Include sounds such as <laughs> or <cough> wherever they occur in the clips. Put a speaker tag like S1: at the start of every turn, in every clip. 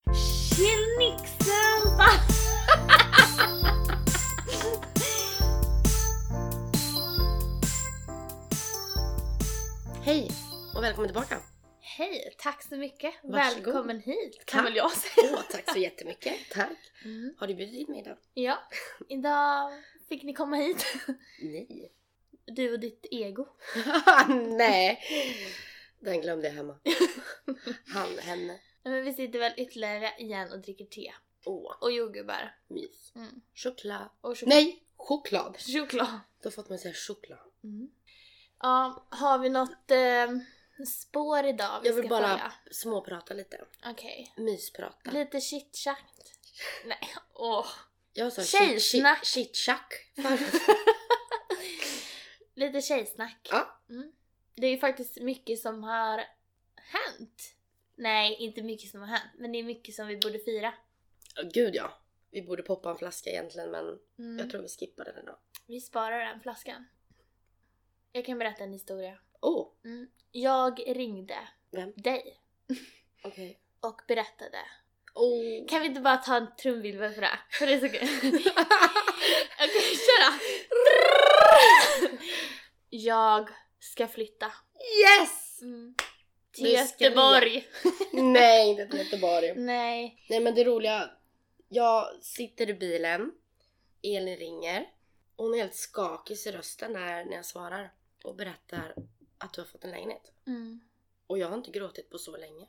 S1: <laughs> välkommen tillbaka.
S2: Hej, tack så mycket.
S1: Varsågod.
S2: Välkommen hit kan
S1: Tack.
S2: väl jag säga.
S1: Åh, tack så jättemycket. <laughs> Tack.
S2: Mm.
S1: Har du bjudit in mig idag?
S2: Ja, idag fick ni komma hit.
S1: Nej.
S2: Du och ditt ego.
S1: <laughs> Nej. Den glömde jag <laughs> hemma. Han, henne.
S2: Nej, Men vi sitter väl ytterligare igen och dricker te.
S1: Åh,
S2: Och jordgubbar.
S1: mys.
S2: Mm.
S1: Choklad.
S2: Och chok-
S1: Nej, choklad.
S2: <laughs> choklad.
S1: Då får man säga choklad.
S2: Mm. Ja, har vi något eh, spår idag vi
S1: Jag vill
S2: ska
S1: bara-
S2: följa?
S1: Småprata lite.
S2: Okej.
S1: Mysprata.
S2: Lite chitchat. Nej, åh.
S1: Jag sa <laughs>
S2: Tjejsnack.
S1: chitchack förut.
S2: Lite tjejsnack.
S1: Ja.
S2: Mm. Det är ju faktiskt mycket som har hänt. Nej, inte mycket som har hänt, men det är mycket som vi borde fira.
S1: Gud ja. Vi borde poppa en flaska egentligen men
S2: Mm.
S1: jag tror vi skippar den idag.
S2: Vi sparar den flaskan. Jag kan berätta en historia.
S1: Åh, oh,
S2: Mm. Jag ringde
S1: vem?
S2: dig
S1: Okej.
S2: och berättade.
S1: Åh.
S2: Kan vi inte bara ta en trumvirvel för det? här? För det är så kul. Okej, köra! Jag ska flytta.
S1: <laughs> Yes!
S2: Till
S1: Nu ska vi-
S2: Göteborg!
S1: Nej, inte till Göteborg.
S2: Nej.
S1: Nej men det roliga, jag sitter i bilen, Elin ringer, hon är helt skakig i rösten när, när jag svarar och berättar att du har fått en lägenhet.
S2: Mm.
S1: Och jag har inte gråtit på så länge.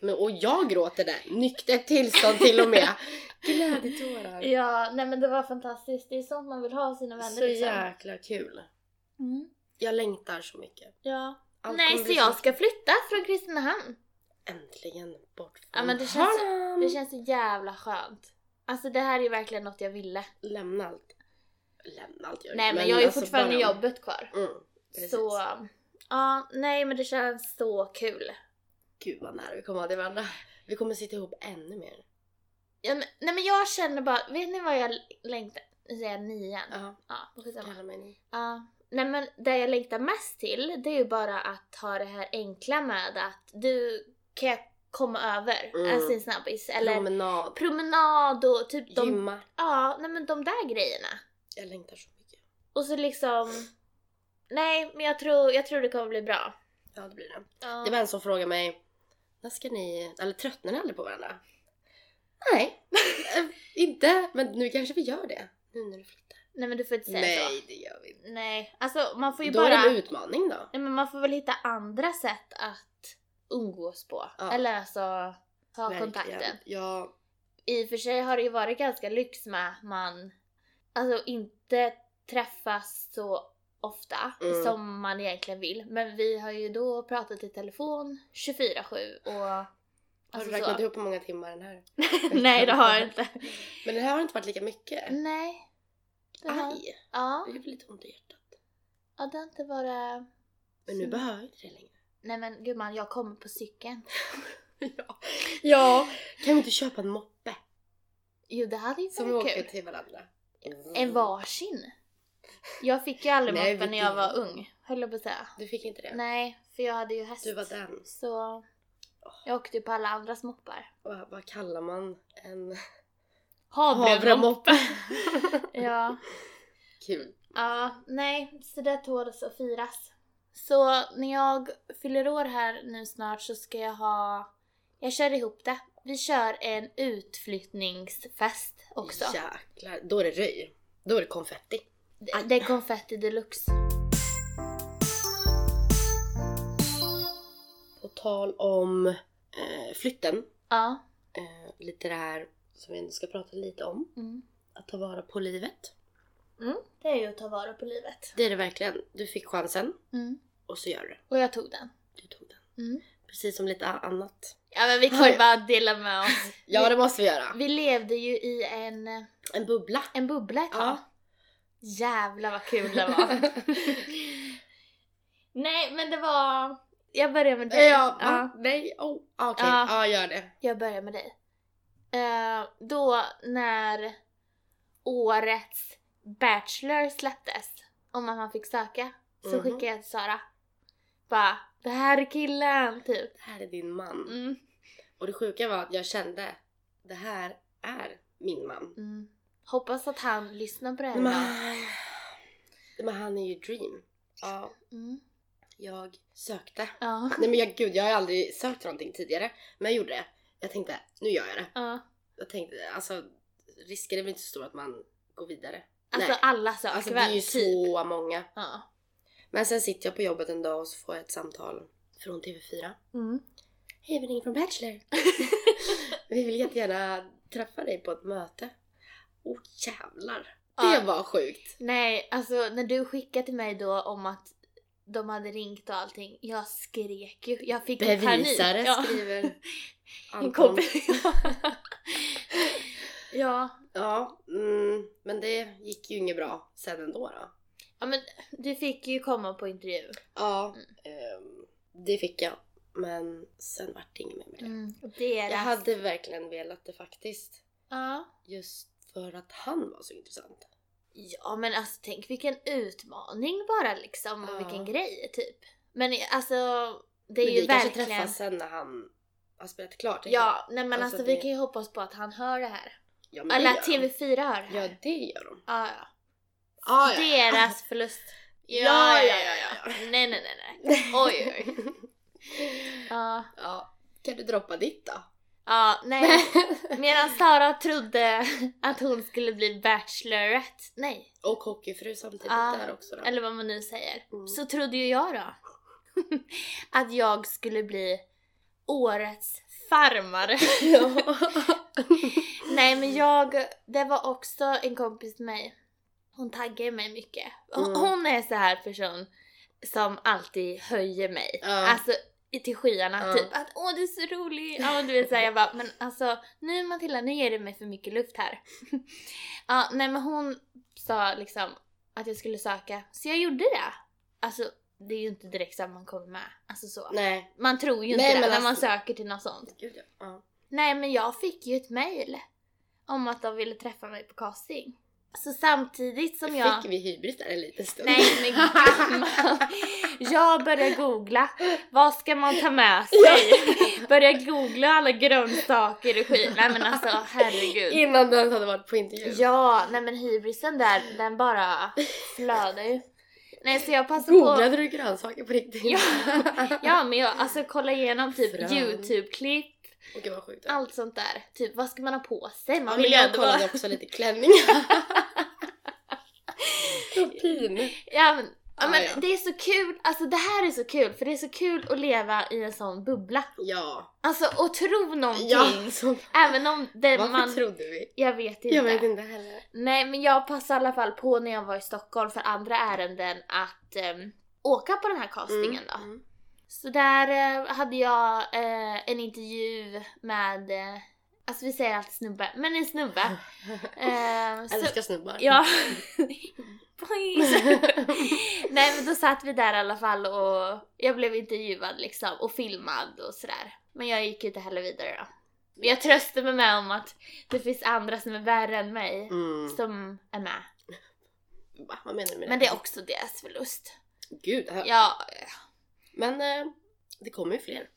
S1: Men, och jag gråter där, nyktert tillstånd till och med. <laughs> Glädjetårar.
S2: Ja, nej men det var fantastiskt. Det är sånt man vill ha av sina vänner. liksom.
S1: Så jäkla kul.
S2: Mm.
S1: Jag längtar så mycket.
S2: Ja.
S1: Allt
S2: nej,
S1: kommer
S2: så
S1: bli
S2: jag ska flytta från Kristinehamn.
S1: Äntligen bort från
S2: Ja, men det känns-
S1: Halm.
S2: Det känns så jävla skönt. Alltså det här är ju verkligen något jag ville.
S1: Lämna allt. Lämna allt gör du,
S2: Nej men, jag har ju
S1: alltså
S2: fortfarande
S1: bara-
S2: jobbet kvar.
S1: Mm, precis.
S2: Så, ja, nej men det känns så kul.
S1: Gud vad nära vi kommer vara till varandra. Vi kommer sitta ihop ännu mer.
S2: Ja, men, nej men jag känner bara, vet ni vad jag längtar? Nu säger jag ni igen.
S1: Ja,
S2: Ja, skitsamma.
S1: kalla mig ni.
S2: Ja. Nej men det jag längtar mest till det är ju bara att ha det här enkla med att du kan jag komma över,
S1: Mm.
S2: alltså en snabbis eller
S1: Promenad,
S2: promenad och typ de,
S1: gymma.
S2: ja, nej men de där grejerna.
S1: Jag längtar så mycket.
S2: Och så liksom, nej men jag tror, jag tror det kommer bli bra.
S1: Ja det blir det.
S2: Ja.
S1: Det var en som frågade mig, när ska ni, eller tröttnar ni aldrig på varandra? Nej, eh, inte. Men nu kanske vi gör det. Nu när du flyttar.
S2: Nej men du får inte säga så.
S1: Nej det gör vi inte.
S2: Nej, alltså man får ju
S1: Då
S2: bara,
S1: är det en utmaning då.
S2: nej men man får väl hitta andra sätt att umgås på.
S1: Ja.
S2: Eller alltså ha
S1: Verkligen.
S2: kontakten.
S1: Ja,
S2: I och för sig har det ju varit ganska lyx med att man, alltså inte träffas så ofta
S1: Mm.
S2: som man egentligen vill. Men vi har ju då pratat i telefon 24-7 och...
S1: har
S2: alltså
S1: du räknat
S2: så.
S1: ihop hur många timmar den här?
S2: <laughs> Nej det har jag inte.
S1: Men det här har inte varit lika mycket.
S2: Nej. Det har...
S1: Aj,
S2: Ja.
S1: det gjorde lite ont i hjärtat.
S2: ja, det har inte varit...
S1: Men nu behöver jag inte det längre. <laughs>
S2: Nej men gumman, jag kommer på cykeln.
S1: Ja. ja, kan vi inte köpa en moppe?
S2: Jo det hade inte
S1: Som vi
S2: varit
S1: åker
S2: kul.
S1: till varandra.
S2: En varsin. Jag fick ju aldrig
S1: Nej,
S2: moppen
S1: vi-
S2: när jag var ung, höll jag på att säga.
S1: Du fick inte det?
S2: Nej, för jag hade ju häst.
S1: Du var den.
S2: Så jag åkte ju på alla andras moppar.
S1: Vad, vad kallar man en
S2: Havremoppe!
S1: havremoppe?
S2: ja.
S1: <laughs> Kul.
S2: ja, nej, så det tåls att firas. Så när jag fyller år här nu snart så ska jag ha, jag kör ihop det. Vi kör en utflyttningsfest också.
S1: Jäklar, då är det röj. Då är det konfetti.
S2: Det- Det är konfetti deluxe.
S1: På tal om eh, flytten,
S2: Ja.
S1: eh, lite det här som vi ändå ska prata lite om.
S2: Mm.
S1: Att ta vara på livet.
S2: Det är ju att ta vara på livet.
S1: Det är det verkligen. Du fick chansen
S2: Mm.
S1: och så gör du det.
S2: Och jag tog den.
S1: Du tog den.
S2: Mm.
S1: Precis som lite a- annat.
S2: Ja men vi kan ju bara dela med oss.
S1: Ja, det måste vi göra.
S2: Vi levde ju i en,
S1: En bubbla.
S2: en bubbla ett tag.
S1: Ja.
S2: Jävlar vad kul det
S1: <laughs>
S2: var. Nej men det var... Jag börjar med dig.
S1: Ja, va? nej, oh, okej,
S2: Ja.
S1: ja gör det.
S2: jag börjar med dig. Eh, då när årets Bachelor släpptes, om att man fick söka, så
S1: Mhm.
S2: skickade jag till Sara. Bara, det här är killen! Typ.
S1: Det här är din man.
S2: Mm.
S1: Och det sjuka var att jag kände, det här är min man.
S2: Mm. Hoppas att han lyssnar på det här
S1: Men,
S2: idag.
S1: han- men han är ju dream. Ja,
S2: mm.
S1: jag sökte.
S2: Ja.
S1: Nej men jag, gud, jag har ju aldrig sökt någonting tidigare. Men jag gjorde det. Jag tänkte, nu gör jag det.
S2: ja.
S1: Jag tänkte, alltså risken är väl inte så stor att man går vidare.
S2: Alltså
S1: Nej.
S2: alla söker
S1: Alltså det är
S2: väl?
S1: ju
S2: typ.
S1: så många.
S2: Ja.
S1: Men sen sitter jag på jobbet en dag och så får jag ett samtal från TV4.
S2: Mm.
S1: Hej, vi ringer från
S2: <laughs>
S1: Bachelor. vi vill jättegärna träffa dig på ett möte. Åh jävlar.
S2: Ja.
S1: Det var sjukt.
S2: Nej, alltså när du skickade till mig då om att de hade ringt och allting, jag skrek ju. Jag fick en panik.
S1: Bevisare
S2: Ja. <laughs>
S1: skriver
S2: En
S1: Anton.
S2: kompis. <laughs> ja.
S1: Ja, mm, men det gick ju inget bra sen ändå då.
S2: ja, men du fick ju komma på intervju.
S1: Ja,
S2: Mm.
S1: ehm, det fick jag. Men sen vart det inget mer med det.
S2: Mm. Det är
S1: Mm. Jag hade verkligen velat det faktiskt.
S2: ja.
S1: Just för att han var så intressant.
S2: ja, men alltså tänk vilken utmaning bara liksom och
S1: Ja.
S2: vilken grej typ. Men alltså, det är
S1: men
S2: ju
S1: vi kanske
S2: verkligen...
S1: träffas sen när han har spelat klart. tänker
S2: Ja, nej men alltså,
S1: Alltså,
S2: vi
S1: det-
S2: kan ju hoppas på att han hör det här.
S1: jag. ja men
S2: Eller
S1: det
S2: att
S1: gör de.
S2: TV4 hör det
S1: Ja,
S2: här.
S1: det gör de.
S2: Ja, ja.
S1: Ah, ja.
S2: <laughs> Deras förlust.
S1: Ja, ja, ja, ja, ja.
S2: Nej, nej, nej, nej.
S1: <laughs>
S2: Oj, oj. Ja,
S1: ja, kan du droppa
S2: <laughs>
S1: ditt då?
S2: ja, nej. <laughs> Medan Sara trodde att hon skulle bli bachelorette, nej,
S1: Och hockeyfru samtidigt
S2: Ja,
S1: där också då.
S2: Ah, eller vad man nu säger,
S1: Mm.
S2: så trodde ju jag då <laughs> att jag skulle bli årets
S1: <laughs>
S2: farmare.
S1: Ja.
S2: <laughs> Nej men jag, det var också en kompis till mig. Hon taggar mig mycket. Hon,
S1: Mm.
S2: hon är så här person som alltid höjer mig.
S1: Ja.
S2: Alltså i- till skyarna
S1: Ja.
S2: typ att åh du är så rolig. Ja men du vet såhär jag bara men alltså nu Matilda nu ger du mig för mycket luft här. <laughs> ja nej men hon sa liksom att jag skulle söka så jag gjorde det. Alltså det är ju inte direkt så att man kommer med. Alltså så.
S1: Nej.
S2: Man tror ju
S1: Nej,
S2: inte det
S1: men
S2: när man
S1: alltså-
S2: söker till något sånt.
S1: Gud ja. ja.
S2: Nej men jag fick ju ett mail om att de ville träffa mig på casting. Så samtidigt som jag...
S1: Fick vi hybris där en liten stund?
S2: Nej
S1: <laughs>
S2: men gammal. Jag började googla, vad ska man ta med sig? Började googla alla grönsaker
S1: <laughs>
S2: och skit. Nej men alltså herregud.
S1: Innan du ens hade varit på intervju.
S2: Ja, nej men hybrisen där, den bara flödar ju. Nej så jag passade på...
S1: Googlade du grönsaker på riktigt? <laughs>
S2: Ja. Ja men jag alltså kolla igenom typ
S1: Fram.
S2: youtube-klipp,
S1: Och gud vad sjukt.
S2: allt sånt där. Typ vad ska man ha på sig? Man
S1: Ja,
S2: vill
S1: men
S2: ju
S1: jag
S2: ändå vara...
S1: kollade också lite klänningar. <laughs> Vad pin.
S2: Ja men, ja,
S1: Ja,
S2: men
S1: ja.
S2: det är så kul, alltså det här är så kul för det är så kul att leva i en sån bubbla.
S1: Ja.
S2: Alltså och tro någonting.
S1: Ja.
S2: <laughs>
S1: Så,
S2: Även om det
S1: varför
S2: man...
S1: trodde vi?
S2: Jag vet inte.
S1: Jag vet inte heller.
S2: Nej men jag passade i alla fall på när jag var i Stockholm för andra ärenden att ehm, åka på den här castingen då.
S1: Mm.
S2: Så där eh, hade jag eh, en intervju med, eh, alltså vi säger alltid snubbe, men
S1: <laughs>
S2: en snubbe. eh, så-
S1: Älskar snubbar. <laughs>
S2: Ja. <laughs> Boing. Nej men då satt vi där i alla fall och jag blev intervjuad liksom och filmad och sådär. Men jag gick ju inte heller vidare då. Men jag tröstade mig med om att det finns andra som är värre än mig
S1: Mm.
S2: som är med.
S1: Va, vad menar du med
S2: Men det är också deras förlust.
S1: Gud. här-
S2: Ja,
S1: Men eh, det kommer ju fler.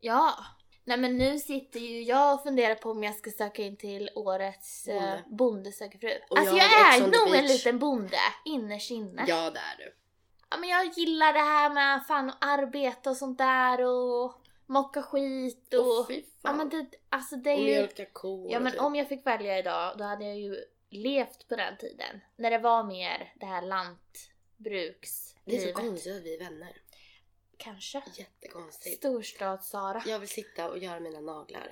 S2: ja. Nej men nu sitter ju jag och funderar på om jag ska söka in till årets bonde, eh,
S1: Bonde.
S2: bonde söker fru.
S1: Och
S2: Alltså
S1: jag
S2: jag,
S1: Ex
S2: är
S1: on the
S2: nog en
S1: beach.
S2: liten bonde innerst inne.
S1: Ja, det är du.
S2: ja men jag gillar det här med fan att arbeta och sånt där och mocka skit och...
S1: Åh, fy fan.
S2: ja men det, alltså det
S1: och
S2: är ju...
S1: mjölka kor.
S2: Ja
S1: och
S2: men
S1: typ.
S2: om jag fick välja idag då hade jag ju levt på den tiden. När det var mer det här
S1: Det är så
S2: lantbrukslivet.
S1: konstigt Typ. att vi är vänner.
S2: Kanske.
S1: Jättekonstigt.
S2: Storstads-Sara.
S1: Jag vill sitta och göra mina naglar.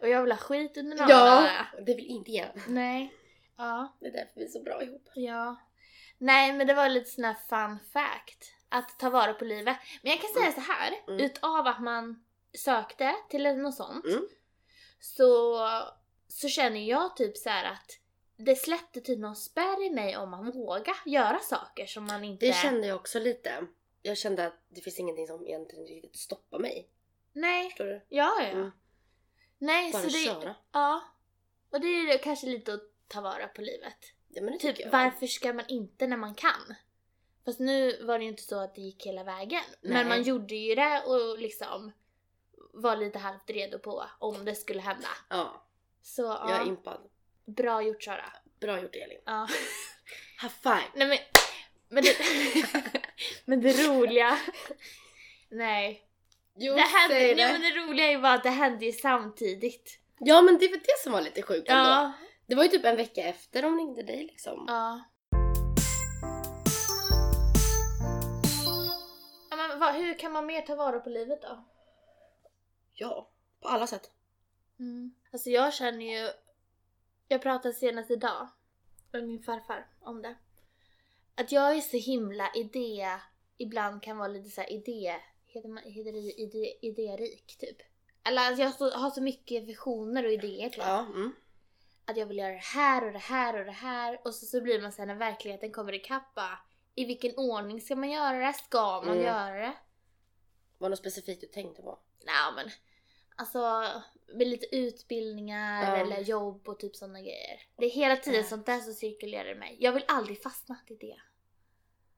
S2: Och jag vill ha skit under
S1: Ja,
S2: naglarna.
S1: det vill inte jag.
S2: Nej. Ja.
S1: Det är därför vi är så bra ihop.
S2: Ja. Nej, men det var lite sån här fun fact. Att ta vara på livet. Men jag kan säga så här.
S1: Mm.
S2: Utav att man sökte till något sånt.
S1: Mm.
S2: Så, så känner jag typ så här att det släppte typ någon spärr i mig om man vågar göra saker som man inte...
S1: Det kände jag också lite. Jag kände att det finns ingenting som egentligen riktigt stoppar mig.
S2: Nej.
S1: Förstår du?
S2: Ja, ja.
S1: Mm.
S2: Nej,
S1: Bara
S2: så det...
S1: köra.
S2: Ja. Och det är ju kanske lite att ta vara på livet.
S1: Ja, men det tycker
S2: Typ
S1: jag.
S2: varför ska man inte när man kan? Fast nu var det ju inte så att det gick hela vägen.
S1: Nej.
S2: Men man gjorde ju det och liksom var lite halvt redo på om det skulle hända.
S1: Ja,
S2: Så
S1: jag
S2: ja,
S1: är impad.
S2: bra gjort Sara. <laughs>
S1: Bra gjort Elin.
S2: Ja.
S1: High five!
S2: Nej men, men det, <laughs> Men det roliga... Nej.
S1: Jo,
S2: det, hände,
S1: säg
S2: nej
S1: det.
S2: men det roliga är ju bara att det hände ju samtidigt.
S1: Ja men det var det som var lite sjukt ändå.
S2: Ja.
S1: Det var ju typ en vecka efter de ringde dig liksom.
S2: Ja. ja men vad, hur kan man mer ta vara på livet då?
S1: Ja, på alla sätt.
S2: Mm. Alltså jag känner ju... Jag pratade senast idag med min farfar om det. Att jag är så himla idé... Ibland kan vara lite så här idé... Heter, man, heter det idé, idérik typ? Eller alltså jag har så, har så mycket visioner och idéer typ.
S1: Ja, mm.
S2: Att jag vill göra det här och det här och det här. Och så, så blir man sen när verkligheten kommer ikapp bara, I vilken ordning ska man göra det? Ska man
S1: Mm.
S2: göra det?
S1: Var det något specifikt du tänkte på?
S2: Nej men alltså med lite utbildningar
S1: Ja.
S2: eller jobb och typ sådana grejer. Det är hela tiden
S1: Ja.
S2: sånt där som cirkulerar i mig. Jag vill aldrig fastna i det.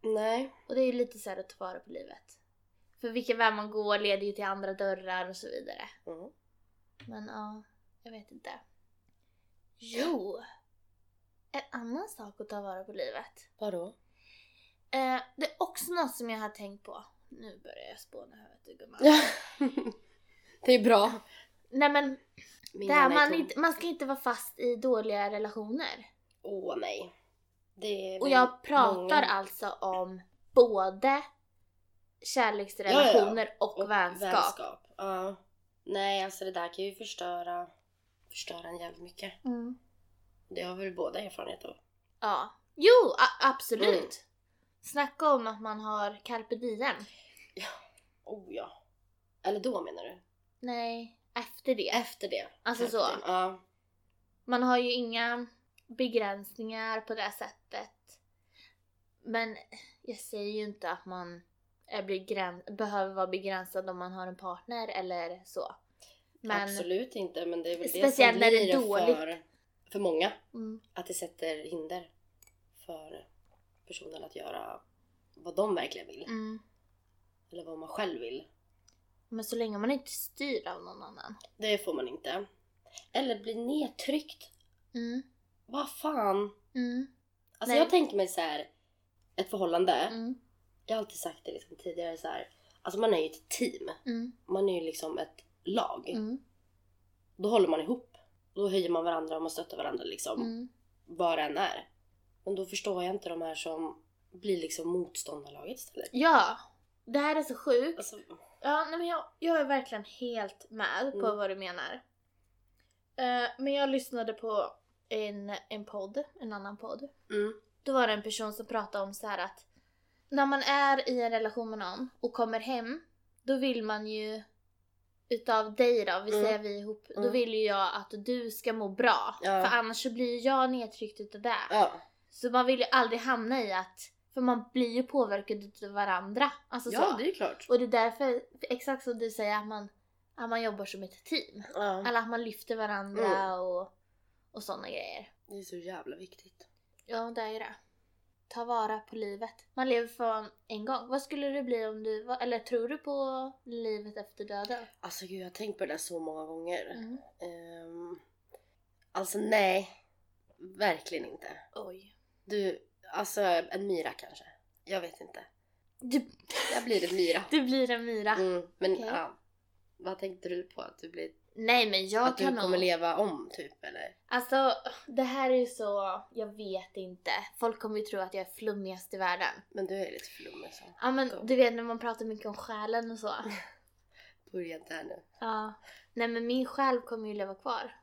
S1: Nej.
S2: Och det är ju lite så här att ta vara på livet. För vilken väg man går leder ju till andra dörrar och så vidare.
S1: Mm.
S2: Men ja, jag vet inte. Jo! En annan sak att ta vara på livet.
S1: Vadå?
S2: Eh, det är också något som jag har tänkt på. Nu börjar jag spåna i huvudet gumman.
S1: <laughs> det är bra.
S2: Nej men,
S1: Min
S2: där
S1: hjärna är
S2: man,
S1: tom.
S2: inte, man ska inte vara fast i dåliga relationer.
S1: Åh nej. Det är
S2: Och
S1: väl
S2: jag pratar
S1: många-
S2: alltså om både kärleksrelationer och, vänskap.
S1: vänskap. Ja. Nej, alltså det där kan ju förstöra, förstöra en jävligt mycket.
S2: Mm.
S1: Det har väl båda erfarenhet av.
S2: Ja. Jo, a- absolut!
S1: Mm.
S2: Snacka om att man har carpe diem.
S1: Oh ja. Eller då menar du?
S2: Nej, efter det.
S1: Efter det.
S2: Alltså så.
S1: Efter- Ja.
S2: Man har ju inga begränsningar på det sättet. Men jag säger ju inte att man är begräns- behöver vara begränsad om man har en partner eller så. Men,
S1: Absolut inte, men det är väl det
S2: Speciellt
S1: som
S2: när det är
S1: blir
S2: dåligt.
S1: För, för många.
S2: Mm,
S1: Att det sätter hinder för personen att göra vad de verkligen vill.
S2: mm.
S1: Eller vad man själv vill.
S2: Men så länge man inte styr av någon annan.
S1: Det får man inte. Eller bli nedtryckt.
S2: Mm,
S1: Vad fan.
S2: mm,
S1: Alltså
S2: Nej.
S1: jag tänker mig så här. ett förhållande.
S2: mm,
S1: Jag har alltid sagt det liksom tidigare så här. Alltså man är ju ett team.
S2: mm,
S1: Man är ju liksom ett lag.
S2: mm,
S1: Då håller man ihop. Då höjer man varandra och man stöttar varandra liksom.
S2: mm.
S1: Vad det än är. Men då förstår jag inte de här som blir liksom motståndarlaget istället.
S2: Ja, det här är så sjukt.
S1: Alltså,
S2: Ja, nej, men jag, jag är verkligen helt med på
S1: Mm.
S2: vad du menar. Eh, men jag lyssnade på en, en podd, en annan podd.
S1: mm,
S2: Då var det en person som pratade om så här att när man är i en relation med någon och kommer hem, då vill man ju utav dig då, vi
S1: Mm.
S2: säger vi ihop, då
S1: Mm.
S2: vill ju jag att du ska må bra.
S1: Ja.
S2: För annars så blir jag nedtryckt utav det.
S1: ja.
S2: Så man vill ju aldrig hamna i att, för man blir ju påverkad utav varandra. Alltså
S1: ja,
S2: så.
S1: det är ju klart.
S2: Och det är därför, exakt som du säger, att man, att man jobbar som ett team.
S1: Ja. Mm.
S2: Eller att man lyfter varandra och, och sådana grejer.
S1: Det är så jävla viktigt.
S2: Ja, det är ju det. Ta vara på livet. Man lever för en gång. Vad skulle det bli om du, vad- eller tror du på livet efter döden?
S1: Alltså gud, jag har tänkt på det där så många gånger.
S2: Mm.
S1: Ehm, alltså nej. Verkligen inte.
S2: Oj.
S1: Du, alltså en myra kanske. Jag vet inte.
S2: Du,
S1: Jag blir en myra.
S2: du blir en myra.
S1: Mm, men
S2: Ah, Okej.
S1: ja. Vad tänkte du på? Att du, blir,
S2: Nej men jag
S1: att du
S2: kan
S1: kommer leva om typ eller?
S2: Alltså, det här är ju så... Jag vet inte. Folk kommer ju tro att jag är flummigast i världen.
S1: Men du är lite flummig så.
S2: Ja
S1: Go.
S2: men du vet när man pratar mycket om
S1: <laughs>
S2: själen och så.
S1: Börja inte här nu.
S2: Ja. Nej men min själ kommer ju leva kvar.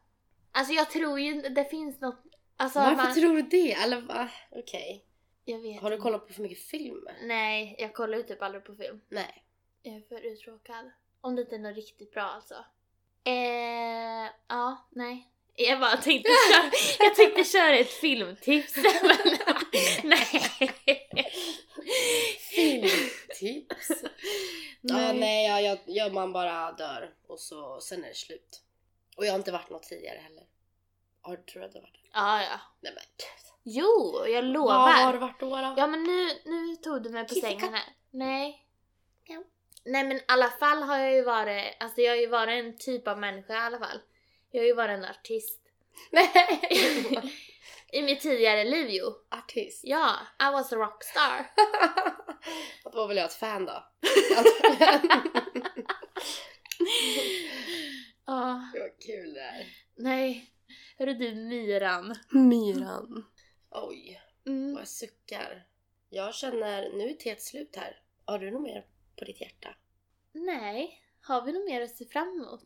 S2: Alltså jag tror ju inte- det finns något... Alltså
S1: Varför
S2: man...
S1: tror du det? Eller va? Okej.
S2: Jag vet
S1: Har du
S2: inte.
S1: kollat på för mycket film?
S2: Nej, jag kollar ju typ aldrig på film.
S1: Nej.
S2: Jag är för uttråkad. Om det inte är något riktigt bra alltså. Eh, ja, nej. Jag bara tänkte köra,
S1: <laughs>
S2: jag tänkte köra ett filmtips. <laughs> Men,
S1: <laughs>
S2: nej. <laughs>
S1: Filmtips? ja,
S2: Nej.
S1: nej, ja, jag, jag, man bara dör och så, sen är det slut. Och jag har inte varit något tidigare heller. Har tror du att du har varit det?
S2: Ja, ja.
S1: Nej men gud.
S2: Jo, jag
S1: Vad har du
S2: lovar.
S1: varit då? då?
S2: Ja men nu, nu tog du mig på
S1: Kissekatt.
S2: sängen här. Nej.
S1: Ja.
S2: Nej men i alla fall har jag ju varit, alltså jag har ju varit en typ av människa i alla fall. Jag har ju varit
S1: <laughs>
S2: en artist.
S1: <laughs>
S2: <laughs>
S1: Nej!
S2: I mitt tidigare liv jo.
S1: Artist. <laughs>
S2: Ja, I was a rockstar.
S1: Att var väl jag ett fan då? Antagligen.
S2: <laughs> Ja,
S1: det var kul det här.
S2: nej. Hörru du, myran.
S1: Myran. Oj, vad
S2: Mm.
S1: jag suckar. Jag känner, nu är teet slut här. Har du något mer på ditt hjärta?
S2: Nej, har vi något mer att se fram emot?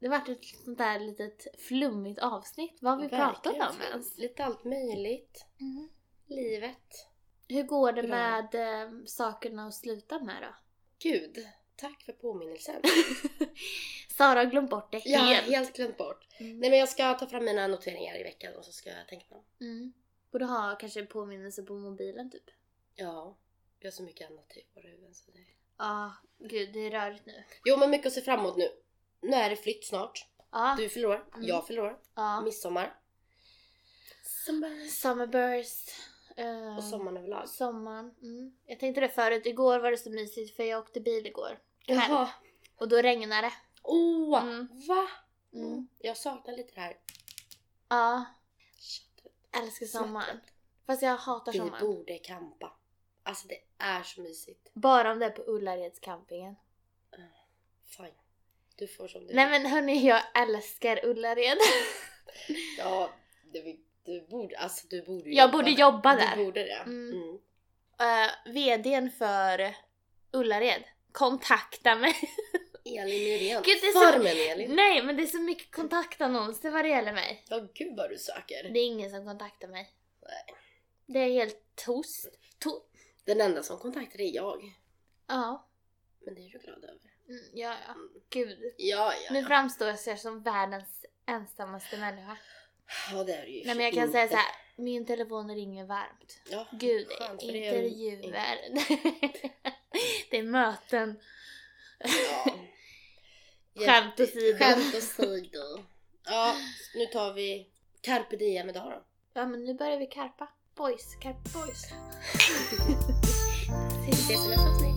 S2: Det vart ett sånt där litet flummigt avsnitt. Vad har vi pratat
S1: Verkligen.
S2: om ens?
S1: Lite allt möjligt.
S2: Mm.
S1: Livet.
S2: Hur går det
S1: Bra.
S2: med eh, sakerna att sluta med då? <laughs>
S1: Gud, tack för påminnelsen.
S2: Sara har glömt bort det
S1: Jag har
S2: helt.
S1: helt glömt bort.
S2: Mm.
S1: Nej men jag ska ta fram mina noteringar i veckan och så ska jag tänka på dem.
S2: Mm. Borde ha kanske en påminnelse på mobilen typ.
S1: Ja, vi har så mycket annat i våra huvuden. Så det...
S2: Ja, gud det är rörigt nu.
S1: Jo men mycket att se fram emot nu. Nu är det flytt snart.
S2: Ja,
S1: Du fyller år,
S2: Mm.
S1: jag fyller år,
S2: ja.
S1: midsommar.
S2: Summerburst. eh,
S1: Och sommaren överlag.
S2: Sommaren. Mm. Jag tänkte det förut, igår var det så mysigt för jag åkte bil igår. Kväll.
S1: Jaha.
S2: Och då regnade det.
S1: Åh,
S2: Mm.
S1: va?
S2: Mm.
S1: Jag saknar lite det här
S2: Ja,
S1: köttet.
S2: älskar sommaren. Fast jag hatar
S1: Vi
S2: sommaren.
S1: borde campa. Alltså det är så mysigt.
S2: Bara om det är på Ullareds campingen.
S1: Fine. Du får som du
S2: Nej
S1: vill.
S2: men hörni, jag älskar Ullared.
S1: Ja, du, du borde, alltså du borde ju
S2: <laughs> Jag borde jobba där.
S1: Du borde det.
S2: Mm.
S1: Mm.
S2: uh, VDn för Ullared, kontakta mig.
S1: Elin Nyrén.
S2: Gud, det är så- Mm.
S1: Farmen Elin.
S2: <laughs> Nej men det är så mycket kontaktannonser vad det gäller mig.
S1: Ja gud vad du söker.
S2: Det är ingen som kontaktar mig.
S1: Nej.
S2: Det är helt tost. To-
S1: Den enda som kontaktar är jag.
S2: ja.
S1: Men det är du glad över.
S2: Mm, ja, ja.
S1: Mm.
S2: Gud.
S1: Ja, ja,
S2: Nu
S1: ja.
S2: framstår jag som världens ensammaste människa.
S1: ja det är du ju
S2: Nej men jag kan
S1: inte.
S2: säga så här. min telefon ringer varmt.
S1: Ja,
S2: Gud,
S1: skönt, för det är-
S2: intervjuer. <laughs> det är möten.
S1: Ja.
S2: Skämt åsido.
S1: Skämt åsido. Ja, nu tar vi carpe diem idag då.
S2: Ja
S1: <laughs>
S2: men nu börjar vi karpa. Boys, karp boys.
S1: Vi ses i nästa avsnitt.